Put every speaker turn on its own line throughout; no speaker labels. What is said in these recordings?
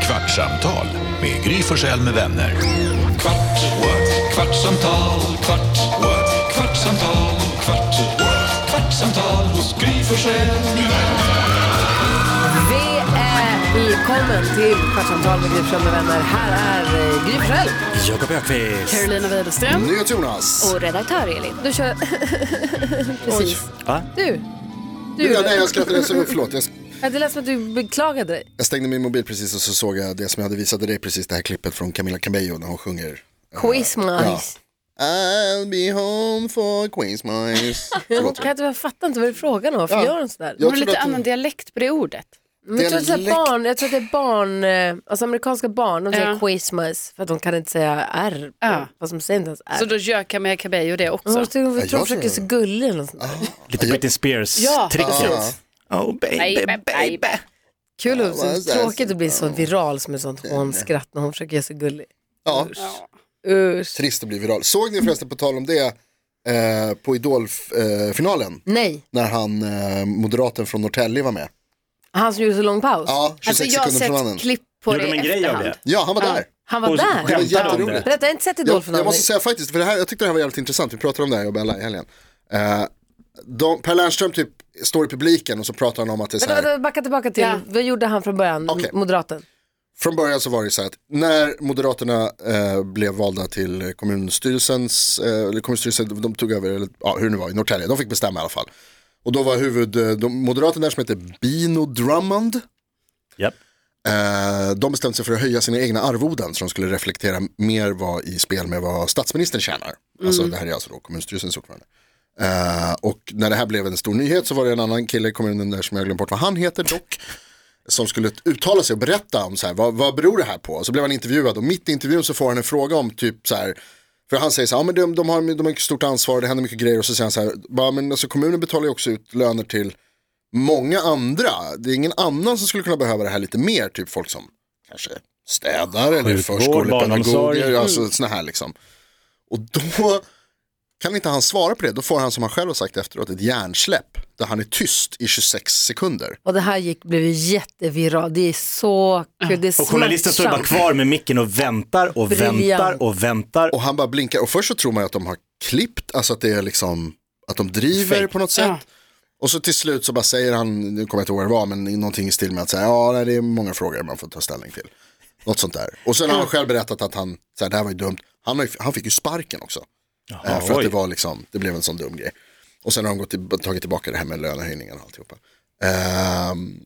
Kvartsamtal med Gry Forssell med vänner. Kvart, what? kvartsamtal, kvart, what? kvartsamtal, kvart, what? kvartsamtal hos Gry Forssell med vänner.
Välkommen till Kvartsamtal med Gry Forssell med vänner. Här är eh, Gry Forssell.
Jakob Öqvist.
Carolina Widerström.
Jonas.
och redaktör Elin.
Du kör... Precis.
Va?
Du. Du
Ja, nej,
gjorde...
jag skrattade så förlåt. Jag,
Ja, Det lät som att du beklagade dig.
jag stängde min mobil precis och så såg jag det som jag hade visade dig precis, det här klippet från Camilla Cabello när hon sjunger.
Quizmice.
I'll be home for Queensmice. Förlåt.
Kan jag, inte, jag fattar inte vad det är frågan om. Varför
Ja.
gör de sådär? Mm,
Det
Jag
var
trodde
lite
att
annan
hon,
dialekt på det ordet.
Men jag, tror att det är
Dialekt.
barn, jag tror att det är barn, eh, alltså amerikanska barn, de säger
Ja.
Quizmas för att de kan inte säga R.
Ja.
Fast de säger inte ens R.
Så då gör Camilla Cabello det
Men
också.
hon tror hon
jag
tror hon
tror-
försöker se gullig eller något sånt. där.
Lite Britney
Ja, Alltså,
Spears-tricket.
precis.
Oh baby,
Nej, men
baby.
baby.
Kul och
vad är
så
det här?
tråkigt att bli så viral som ett sånt hånskratt när hon försöker göra sig gullig.
ja,
Usch.
trist att bli viral. Såg ni förresten på tal om det eh, på Idol-finalen
Nej,
när han, eh, moderaten från Norrtälje var med?
han som gjorde så lång paus.
Ja, 26
Alltså jag har
sekunder från mannen.
sett klipp på
Gjorde de
det
en
i
grej av
efterhand.
det?
Ja, han var där.
Han var
Och så
där.
var
skämtade om
jätteroligt.
det.
Berätta, jag har inte sett
jag, jag
Idolfinalen.
måste säga faktiskt, för det här, jag tyckte det här var jävligt intressant, vi pratade om det här, jag och Bella i helgen. Eh, de, per Lernström typ står i publiken och så pratar han om att det är så
Vänta,
här,
vänta, backa tillbaka till,
Ja.
vad gjorde han från början,
Okej.
moderaten?
Från början så var det så här att när Moderaterna eh, blev valda till kommunstyrelsens, eh, eller kommunstyrelsen, de- de tog över, eller, ja, hur det nu var, i Norrtälje, de fick bestämma i alla fall. Och då var huvud, eh, de, Moderaterna där som heter Bino Drummond,
Japp.
eh, de bestämde sig för att höja sina egna arvoden så de skulle reflektera mer vad i spel med vad statsministern tjänar. Alltså det här är alltså då kommunstyrelsens ordförande. Eh, och när det här blev en stor nyhet så var det en annan kille i kommunen där som jag glömt bort vad han heter dock som skulle uttala sig och berätta om så här, vad, vad beror det här på? Så blev han intervjuad och mitt i intervjun så får han en fråga om typ så här, för han säger så här, ja, men de, de, har, de har mycket stort ansvar, det händer mycket grejer och så säger han så här, bara, men alltså, kommunen betalar ju också ut löner till många andra, det är ingen annan som skulle kunna behöva det här lite mer, typ folk som kanske städar eller
Sjukvård,
förskolepedagoger,
barnomsorg. Mm.
alltså sådana här liksom. Och då kan inte han svara på det, då får han som han själv har sagt efteråt ett hjärnsläpp där han är tyst i 26 sekunder.
Och det här gick, blev ju jätteviral, det är så kul, det är
Och journalisten står bara
smärtsamt.
kvar med micken och väntar och
Briljant.
väntar och väntar.
Och han bara blinkar och först så tror man ju att de har klippt, alltså att det är liksom att de driver
Fake.
på något sätt.
Ja.
Och så till slut så bara säger han, nu kommer jag inte ihåg vad det var, men någonting i stil med att säga, ja nej, det är många frågor man får ta ställning till. Något sånt där. Och sen har han själv berättat att han, så här, det här var ju dumt, han, har ju, han fick ju sparken också. Eh, för att
oj.
det var liksom, det blev en sån dum grej. Och sen har de gått till, tagit tillbaka det här med lönehöjningen och alltihopa. Ehm,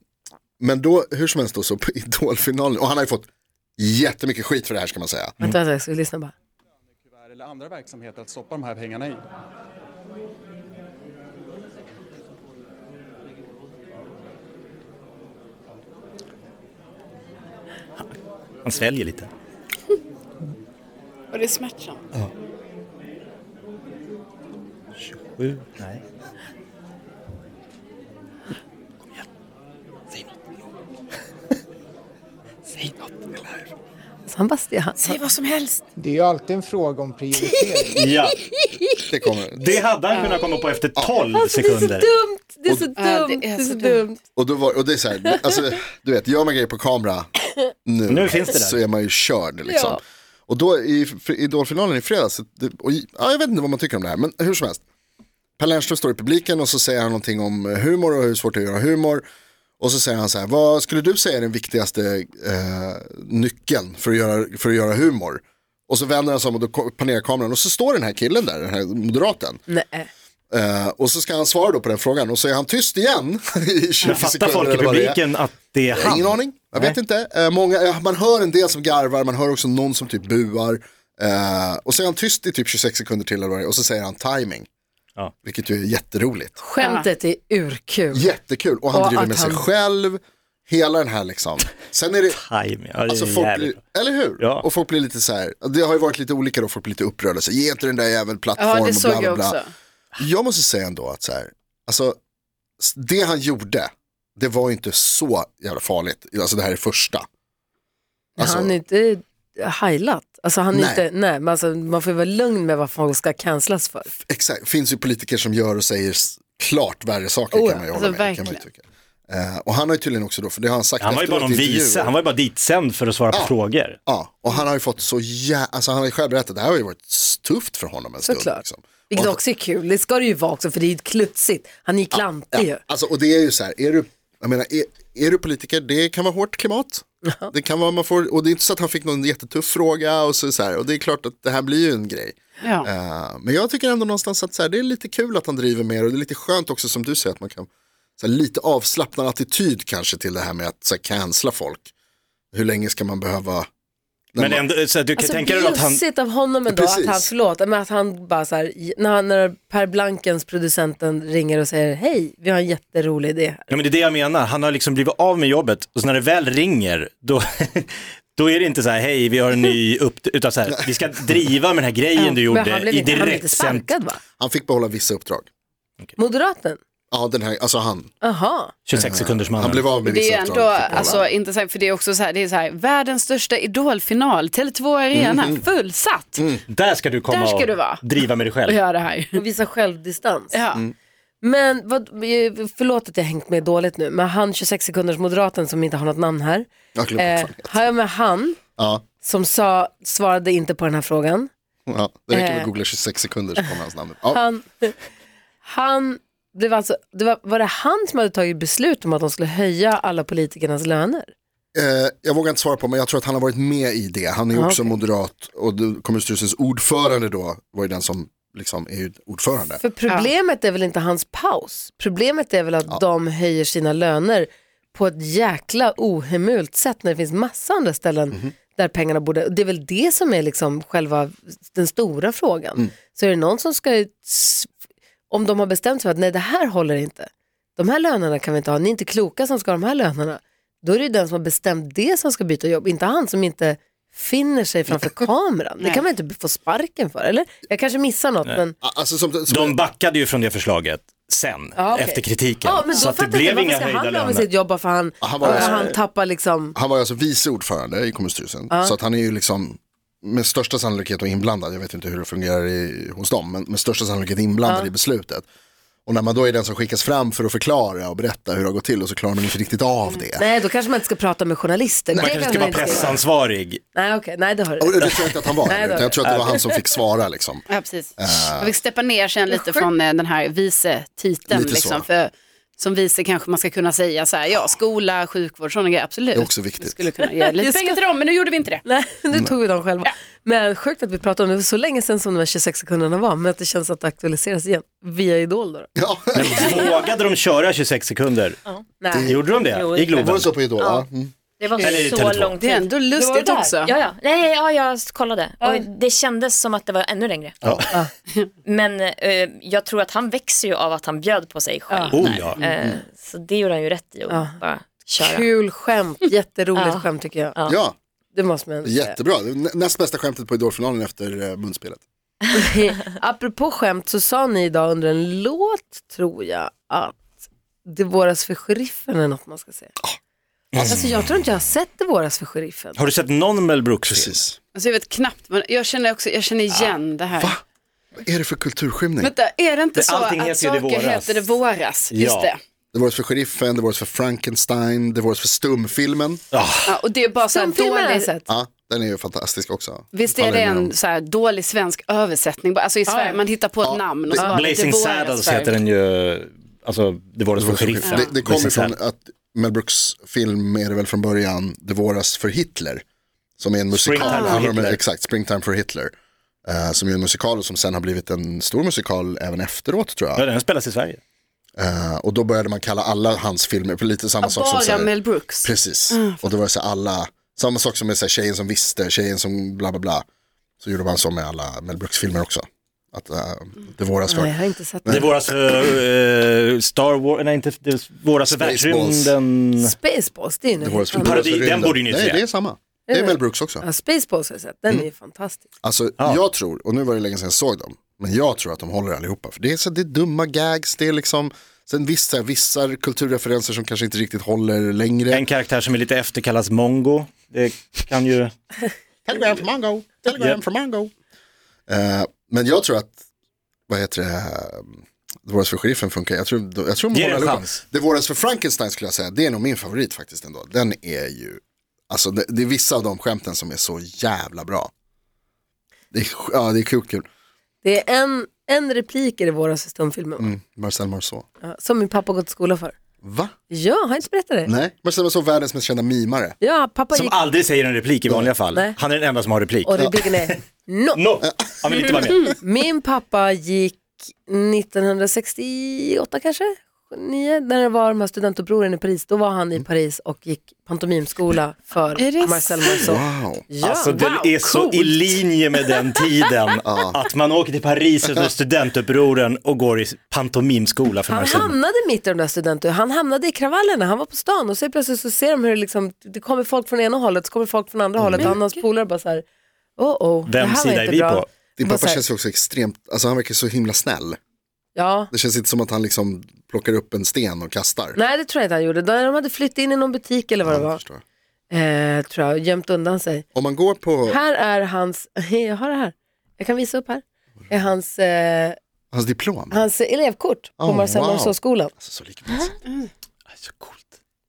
men då, hur som helst då, så på idolfinalen, och han har ju fått jättemycket skit för det här ska man säga.
Vänta, vänta, jag ska lyssna bara.
kuvert eller andra verksamheter att stoppa de här pengarna i.
Han sväljer lite.
Och det är smärtsamt.
27, nej. Kom igen. Säg något. Säg något. Det är live.
Så han bara, st- han,
Säg vad som helst.
Det är ju alltid en fråga om prioritering.
Ja,
Det kommer.
det hade han kunnat komma på efter 12
alltså, det är så
sekunder.
dumt, det är så dumt,
Ja,
det är så dumt.
Och, då var, och det är så här, alltså, du vet, gör man grejer på kamera nu,
Nu finns det där.
så är man ju körd. Liksom.
Ja.
Och då i fr- Idolfinalen i fredags, det- och, i- ja, jag vet inte vad man tycker om det här, men hur som helst. Per Lernström står i publiken och så säger han någonting om humor och hur svårt det är att göra humor. Och så säger han så här, vad skulle du säga är den viktigaste eh, nyckeln för att, göra, för att göra humor? Och så vänder han sig om och då ko- panerar kameran och så står den här killen där, den här moderaten.
Nej.
Eh, och så ska han svara då på den frågan och så är han tyst igen i 20
Men
sekunder.
fattar folk i
eller vad det är.
publiken att det är
Jag har
han?
Ingen aning, jag vet inte. Eh, många, ja, man hör en del som garvar, man hör också någon som typ buar. Eh, och så är han tyst i typ 26 sekunder till eller vad det är, och så säger han timing.
Ja.
Vilket ju är jätteroligt.
Skämtet är urkul.
Jättekul, och han
Och
driver
att
med sig
han-
själv. Hela den här liksom. Sen är det,
Time. Ja, det
alltså
är
folk blir,
jävligt bra.
eller hur?
Ja.
Och folk blir lite så här, det har ju varit lite olika då, folk blir lite upprörda. Så, Ge inte den där jäveln plattform
Ja, det
och bla
såg
bla
jag
bla.
också.
Jag måste säga ändå att så här, alltså, s- det han gjorde, det var ju inte så jävla farligt. Alltså det här är första. Alltså-
han är inte hajlat, alltså han är
Nej.
inte, nej, men alltså, man får ju vara lugn med vad folk ska cancelas för.
Exakt, finns ju politiker som gör och säger s- klart värre saker
Oh ja,
kan man ju
alltså
hålla med. Kan man ju
verkligen.
tycka. Eh, och han har ju tydligen också då, för det har han sagt
Han var ju bara
efteråt
någon
i intervjuer.
vise, han var ju bara ditsänd för att svara på frågor.
Ja, och han har ju fått så jä... Alltså han har ju själv berättat, det här har ju varit tufft för honom en stund.
Såklart.
Liksom.
Vilket
Och-
också är kul. Det ska det ju vara också för det är ju klutsigt. Han är ju klantig ju.
Ja, alltså, och det är ju så här, är du, jag menar, är, är du politiker, det kan vara hårt klimat. Det kan vara, man får, och det är inte så att han fick någon jättetuff fråga och så, så här, och det är klart att det här blir ju en grej.
Ja.
Eh, men jag tycker ändå någonstans att så här, det är lite kul att han driver mer och det är lite skönt också som du säger att man kan, så här, lite avslappnad attityd kanske till det här med att så här, cancella folk. Hur länge ska man behöva,
Men ändå, så att du kan
Alltså
tänka dig att han...
bjussigt av honom ändå
Precis.
att han, förlåt, men att han bara så här, när, han, när Per Blankens producenten ringer och säger hej, vi har en jätterolig idé här.
Ja, men det är det jag menar, han har liksom blivit av med jobbet och så när det väl ringer, då, då är det inte så här, hej vi har en ny upp utan så här, vi ska driva med den här grejen du
Men han
gjorde
blev,
i
inte, han blev
direkt
inte sparkad va?
han fick behålla vissa uppdrag.
Moderaten?
Ja, den här, alltså han,
Aha.
26 sekunders
Mm. han blev av med
Det
vissa
är ju ändå
uppdrag. fick behålla.
alltså, intressant, för det är också så här, det är så här, världens största idolfinal, Tele2 Arena,
Mm,
fullsatt.
Där ska du komma
Där ska
och
du vara.
driva med dig själv.
Gör det här.
Mm.
Och visa självdistans.
Ja.
Men vad, eh, förlåt att jag hängt med dåligt nu, men han 26 sekunders moderaten som inte har något namn här.
Jag glömde
Eh,
fan.
har jag med han
ja.
som sa, svarade inte på den här frågan.
Ja, det räcker med
Eh.
att googla 26 sekunder så kommer hans namn upp. Ja,
Han, han blev alltså, det var, var det han som hade tagit beslut om att de skulle höja alla politikernas löner?
eh, jag vågar inte svara på men jag tror att han har varit med i det. Han är ju också moderat och det- kommunstyrelsens ordförande då var ju den som liksom är ju ordförande.
För problemet är väl inte hans paus? Problemet är väl att de höjer sina löner på ett jäkla ohemult sätt när det finns massa andra ställen där pengarna borde... och Det är väl det som är liksom själva den stora frågan. Så är det någon som ska... s- Om de har bestämt sig för att nej, det här håller inte. De här lönerna kan vi inte ha. Ni är inte kloka som ska ha de här lönerna. Då är det ju den som har bestämt det som ska byta jobb, inte han som inte finner sig framför kameran. Det kan man inte få sparken för, eller? Jag kanske missar något, men...
Ah, Alltså som, som,
De backade ju från det förslaget sen,
Ja, okej.
efter kritiken.
Ja, men då
så att det
fattar jag
blev
inte,
inga
varför ska
höjda
han bli av
löner.
med sitt jobb bara för han,
han
han,
var också-
han tappar liksom.
han var ju alltså vice ordförande i kommunstyrelsen. Så att han är ju liksom med största sannolikhet och inblandad. Jag vet inte hur det fungerar i, hos dem men med största sannolikhet inblandad i beslutet. Och när man då är den som skickas fram för att förklara och berätta hur det har gått till och så klarar man inte riktigt av det.
Mm. Nej, då kanske man inte ska prata med journalister.
Man
Det
kanske
kanske
ska vara
inte
pressansvarig.
Nej, okej, nej det har
Och
du
det tror jag inte att han var.
Nej, det var
utan jag tror att det var han som fick svara liksom.
Ja, precis. Jag fick steppa ner sen lite från eh, den här vice-titeln.
Lite så.
Liksom, för som vice kanske man ska kunna säga så här, ja, skola, sjukvård, sådana grejer, absolut.
Det är också viktigt.
Vi skulle kunna ge lite
Just det.
pengar till dem, men nu gjorde vi inte det.
Nej, nu tog vi dem själva. Men sjukt att vi pratade om det, det var så länge sedan som de här 26 sekunderna var, men att det känns att det aktualiseras igen via Idol då.
Ja.
Vågade de köra 26 sekunder?
Nej.
Gjorde de det? I
Var
Globen?
det så på Idol? Ja. Mm.
Det var
Eller
så
Tele2.
lång
Det är
tid.
ändå
Det var
lustigt
det där.
också.
Ja, ja. Nej, ja, jag kollade. Och det kändes som att det var ännu längre.
Ja.
Men eh, jag tror att han växer ju av att han bjöd på sig själv.
Oh, ja.
Eh, så det gjorde han ju rätt i att bara köra.
Kul skämt, jätteroligt
Ja.
skämt tycker jag.
ja.
Det måste man ändå säga.
Jättebra, Det är nä- näst bästa skämtet på idolfinalen efter eh, munspelet.
Apropå skämt så sa ni idag under en låt, tror jag, att det våras för sheriffen är något man ska säga. Alltså jag tror inte jag har sett det våras för sheriffen.
Har du sett någon Mel Brooks film?
Alltså, jag vet knappt, vad- jag känner, också, jag känner
Ah,
igen det här.
Vad är det för kulturskymning?
Vänta, är det inte
Det-
så
allting
att
heter ju Det
saker
våras.
heter det våras?
Ja.
Just det.
Det var för sheriffen, det var för Frankenstein, det var för stumfilmen.
Ja, och det är bara så här
Den filmen har jag
dålig,
sett.
Ja, den är ju fantastisk också.
Visst är
Alla
det
med
en
dem.
så här dålig svensk översättning? bara- Alltså i Sverige, man hittar på ett namn. Och så bara,
Blazing
det våras
Saddles
för-
heter den ju, alltså det var det
Det,
för
var för
sheriffen.
det, det kommer
Blazing
från
Saddles.
att Mel Brooks film är det väl från början, Det våras för Hitler. Som är en musikal.
Springtime for
Handlar om en-
Hitler.
Exakt, Springtime for Hitler. eh, som är en musikal och som sen har blivit en stor musikal även efteråt tror jag.
Ja, den spelas i Sverige.
Eh, och då började man kalla alla hans filmer, för lite
alltså
samma sak som så
Bara
här-
Mel Brooks.
Precis, och det var så här alla, samma sak som med så här, tjejen som visste, tjejen som bla bla bla. Så gjorde man så med alla Mel Brooks-filmer också. Att eh, det våras för.
Nej, jag har inte sett
Det
det.
våras för eh, Star Wars, nej inte, det våras för
Spaceballs.
världsrymden.
Spaceballs, det är ju
Det
nu.
våras för
Parodi,
det våras för
den
rymden.
borde ju ni inte
Nej,
säga.
det är samma. Det Alltså- är
det?
Mel Brooks också.
Ja, Spaceballs har jag sett, den
Mm.
är ju fantastisk.
Alltså jag tror, och nu var det länge sedan jag såg dem, men jag tror att de håller allihopa. För det är, så, det är dumma gags, det är liksom, sen vissa, vissa kulturreferenser som kanske inte riktigt håller längre.
En karaktär som är lite efter kallas Mongo. Det kan ju...
Telegram from Mongo, telegram
Japp.
from Mongo. Eh, men jag tror att, vad heter det, Det våras för sheriffen funkar, jag tror, jag tror man
Ge det
håller
en
allihopa.
chans.
Det våras för Frankenstein skulle jag säga, det är nog min favorit faktiskt ändå. Den är ju, alltså det, det är vissa av de skämten som är så jävla bra. Det är, sj- ja, det är sjukt kul.
Det är en, en replik i det våras i stumfilmen,
Mm, Marcel Marceau.
ja, som min pappa gått i skola för.
Va?
Ja, har jag inte berättat det?
Nej, Marcel Marceau, världens mest kända mimare.
Ja, pappa
Som
gick
aldrig säger en replik i vanliga fall.
Nej.
Han är den enda som har replik.
och repliken är no.
No! Han vill inte vara med.
Min pappa gick 1968 kanske? 9, när det var de här studentupproren i Paris, då var han i Paris och gick pantomimskola
Är det
för Marcel Marceau.
Wow.
Ja,
Alltså det
wow,
är så i
coolt.
linje med den tiden att man åker till Paris efter studentupproren och går i pantomimskola för
Han
Marcel.
hamnade mitt i de där studenterna, han hamnade i kravallerna, han var på stan och så plötsligt så ser de hur det, liksom, det kommer folk från ena hållet, så kommer folk från andra hållet och han och hans polare bara så här, oh oh, det
Mm.
här
Vem
var
sida
inte
är vi
bra.
på? Alltså,
Din
Bara så
pappa
här-
känns ju också extremt, alltså han verkar så himla snäll.
Ja,
Det känns inte som att han liksom plockar upp en sten och kastar.
nej det tror jag inte han gjorde, de hade flyttat in i någon butik eller vad det
Ja, jag
var,
förstår.
eh, tror jag, gömt undan sig.
Om man går på
Här är hans, jag har det här, jag kan visa upp här, är hans, eh,
hans diplom.
hans elevkort på
Oh,
Marcel
wow.
Marceau-skolan.
Alltså, så likt Marcel.
Mm.
Alltså, Så coolt.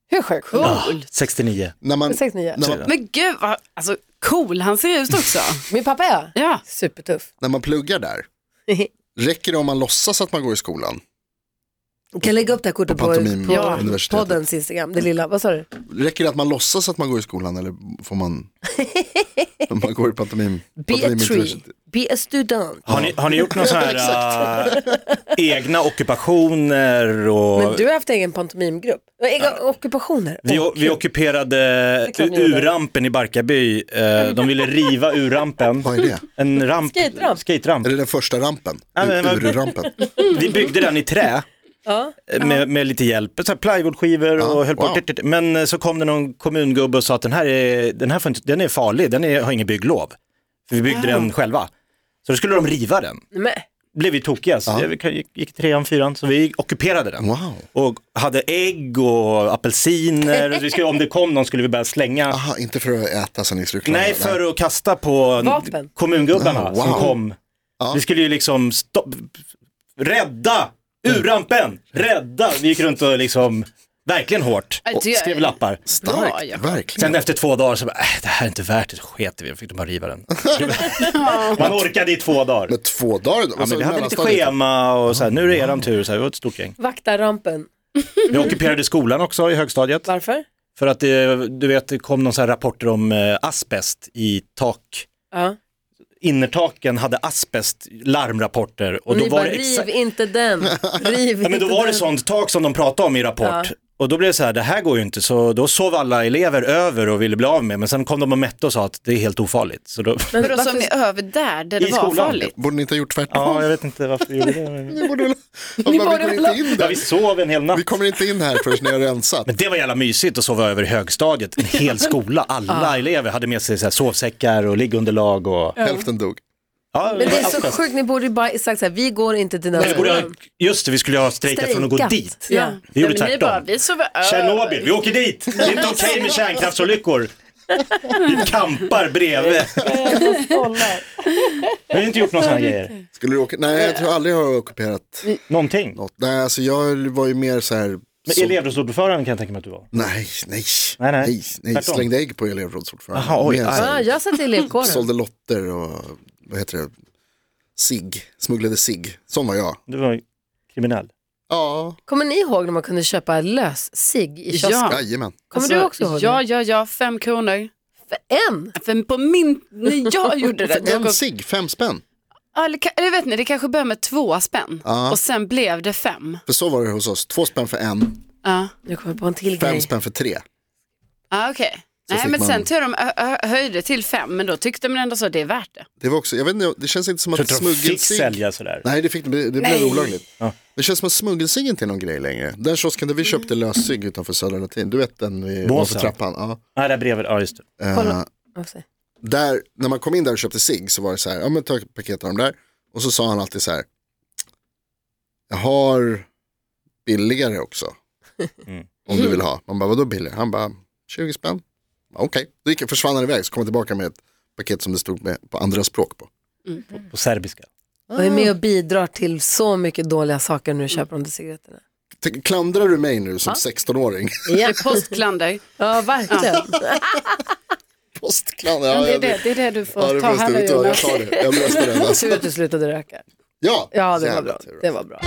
Hur sjukt?
Ah, 69.
När man,
69.
när man,
Men gud vad alltså, cool han ser ut också.
Min pappa ja,
ja.
supertuff.
när man pluggar där, räcker det om man låtsas att man går i skolan?
Vi kan lägga upp det här kortet
På
på, på,
pantomim- Ja. universitetet.
poddens Instagram, det lilla. Vad sa du?
Räcker det att man låtsas att man går i skolan eller får man, om man går i pantomim?
Be a
pantomim
tree, be a student.
Har ni, har ni gjort några sådana här äh, egna ockupationer? Och...
Men du har haft egen pantomimgrupp, och egna ockupationer.
Vi,
Åh,
vi
kul.
ockuperade
klart ni gjorde.
urrampen i Barkarby. Eh, De ville riva urrampen.
Vad är det?
En ramp,
Skateramp.
skateramp.
Är det den första rampen?
Ja, men-
Ur- Urrampen?
Vi byggde den i trä
ja.
eh, med, med lite hjälp, så här plywoodskivor och
Ja,
höll på.
wow.
Men eh, så kom det någon kommungubbe och sa att den här är, den här får inte, den är farlig, den är, har ingen bygglov. För vi byggde den själva. Så då skulle de riva den.
Men,
Blev vi tokiga, så vi kan- gick, gick i trean, fyran, så vi ockuperade den.
Wow.
Och hade ägg och apelsiner, och vi skulle, om det kom någon skulle vi börja slänga.
Aha, inte för att äta sen ni skulle klara
Nej,
det.
för att kasta på
Vapen.
kommungubbarna
Ah, wow.
som kom. Vi skulle ju liksom stopp... rädda urrampen, rädda. Vi gick runt och liksom verkligen hårt
Äh,
och
det-
skrev lappar.
Bra,
Starkt,
Jakob.
verkligen.
Sen efter två dagar så bara, äh, det här är inte värt det, så sket vi i det. fick de bara riva den. Man orkade i två dagar.
Med två dagar.
Ja,
alltså,
men vi hade lite
mellanstadiet.
schema och så här, nu är det eran tur, så här, vi var ett stort gäng.
vakta rampen.
Vi ockuperade skolan också i högstadiet.
Varför?
För att det, du vet, det kom någon så här rapporter om eh, asbest i tak.
Ja.
innertaken hade asbest, larmrapporter. Och då
Ni
var
bara,
det,
riv
exa-
inte den, riv
ja, men då
inte
var det
den.
sånt tak som de pratade om i rapport.
Ja.
Och då blev det så här, det här går ju inte, så då sov alla elever över och ville bli av med. Men sen kom de och mätte och sa att det är helt ofarligt. Så då...
Men
Men då
varför-
som ni över där, där
I
det var
skolan.
farligt.
Borde ni inte ha gjort tvärtom?
Ja, jag vet inte varför vi gjorde det. Men...
Ni borde väl...
Ni borde
Ni vi går
väl
inte
ha-
in
Ja,
där.
vi sov en hel natt.
Vi kommer inte in här förrän ni har rensat.
Men det var jävla mysigt att sova över i högstadiet, en hel skola. Alla elever hade med sig så här sovsäckar och liggunderlag och...
Hälften dog.
Ja,
Men det är så
asbest.
sjukt, ni borde ju bara sagt så här, vi går inte till den
Vi Alltså- borde ha-
skolan.
Just det, vi skulle ha strejkat från att gå
Strejkat.
dit.
Ja.
Vi gjorde
Nej, men ni bara,
tvärtom.
vi sover över.
Tjernobyl, vi åker dit! Det är inte okej med kärnkraftsolyckor. Vi kampar bredvid. Jag har inte gjort någon sån här grejer.
Skulle du åka? Nej,
Eh.
jag tror aldrig jag har ockuperat
Någonting.
något. Nej, alltså jag var ju mer så här...
Men
så-
elevrådsordförande kan jag tänka mig att du var.
Nej, nej,
Nej, nej.
nej, nej.
Tvärtom.
slängde ägg på elevrådsordförande.
Jaha, oj,
Mer
aj.
så
Ja,
här,
jag satt i elevkåren.
Sålde lotter och vad heter det? Sig, smugglade sig. Sån var jag.
Du var kriminell.
Ja,
Kommer ni ihåg när man kunde köpa lös cigg i kiosken?
Ja.
jajamän.
Kommer
Alltså,
du också ihåg
Ja,
det?
ja, ja, fem kronor.
En?
För på min, när jag gjorde det. då
En
kom-
sig, fem spänn.
Ja, Eller, ka- eller vet ni, det kanske började med två spänn
Ja.
och sen blev det fem.
För så var det hos oss. Två spänn för en,
Ja,
Nu kommer jag på en till
fem
grej.
spänn för tre.
ja okej. Nej,
fick
men
man-
sen tror jag de ö- ö- höjde till fem, men då tyckte man ändå så det är värt det.
Det var också, jag vet inte, det känns inte som
Så
att
att de fick
smuggelsig.
sälja sådär.
Nej, det, fick, det, det blev
Nej.
olagligt.
Ja.
Det känns som att smuggelsig inte är någon grej längre. Den kiosken där vi köpte lös sig utanför Södra Latin, du vet den vid
Båsen.
ovanför trappan. Ja.
Nej, där bredvid, ja just det.
Eh,
Kolla. Vad säger-
där, när man kom in där och köpte sig så var det så här, ja men ta ett paket av dem där. Och så sa han alltid så här, jag har billigare också. Om du vill ha. Man bara, vadå billigare? Han bara, 20 spänn. Ja, Okej, då gick, försvann han iväg så kom han tillbaka med ett paket som det stod med, på andra språk på.
På serbiska.
Och är med och bidrar till så mycket dåliga saker när du köper de där cigaretterna.
Tänk, Klandrar du mig nu som 16-åring?
Det är postklander.
Ja, verkligen.
Postklandrar. Ja,
Det är
jag-
det, det, är det du får
Ja, det
ta
finns
här
det.
nu
Vet du vad, jag
Jonas.
tar det. Jag bröstar den. Alltså.
Tur att du slutade röka.
Ja,
Ja, det var
jävla
bra.
tur.
Det var bra.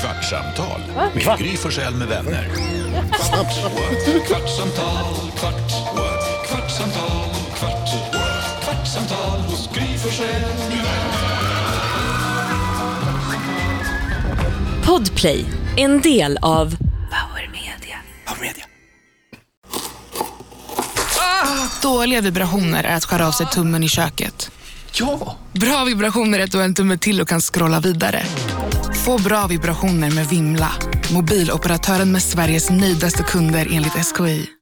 Kvartsamtal med Gry Forssell med vänner. Kvart, what? kvartsamtal, kvart, what? kvartsamtal, kvart, what? kvartsamtal hos Gry Forssell med vänner.
Podplay, en del av
Dåliga vibrationer är att skära av sig tummen i köket.
Ja!
Bra vibrationer är att du har en tumme till och kan scrolla vidare. Få bra vibrationer med Vimla. Mobiloperatören med Sveriges nöjdaste kunder enligt SKI.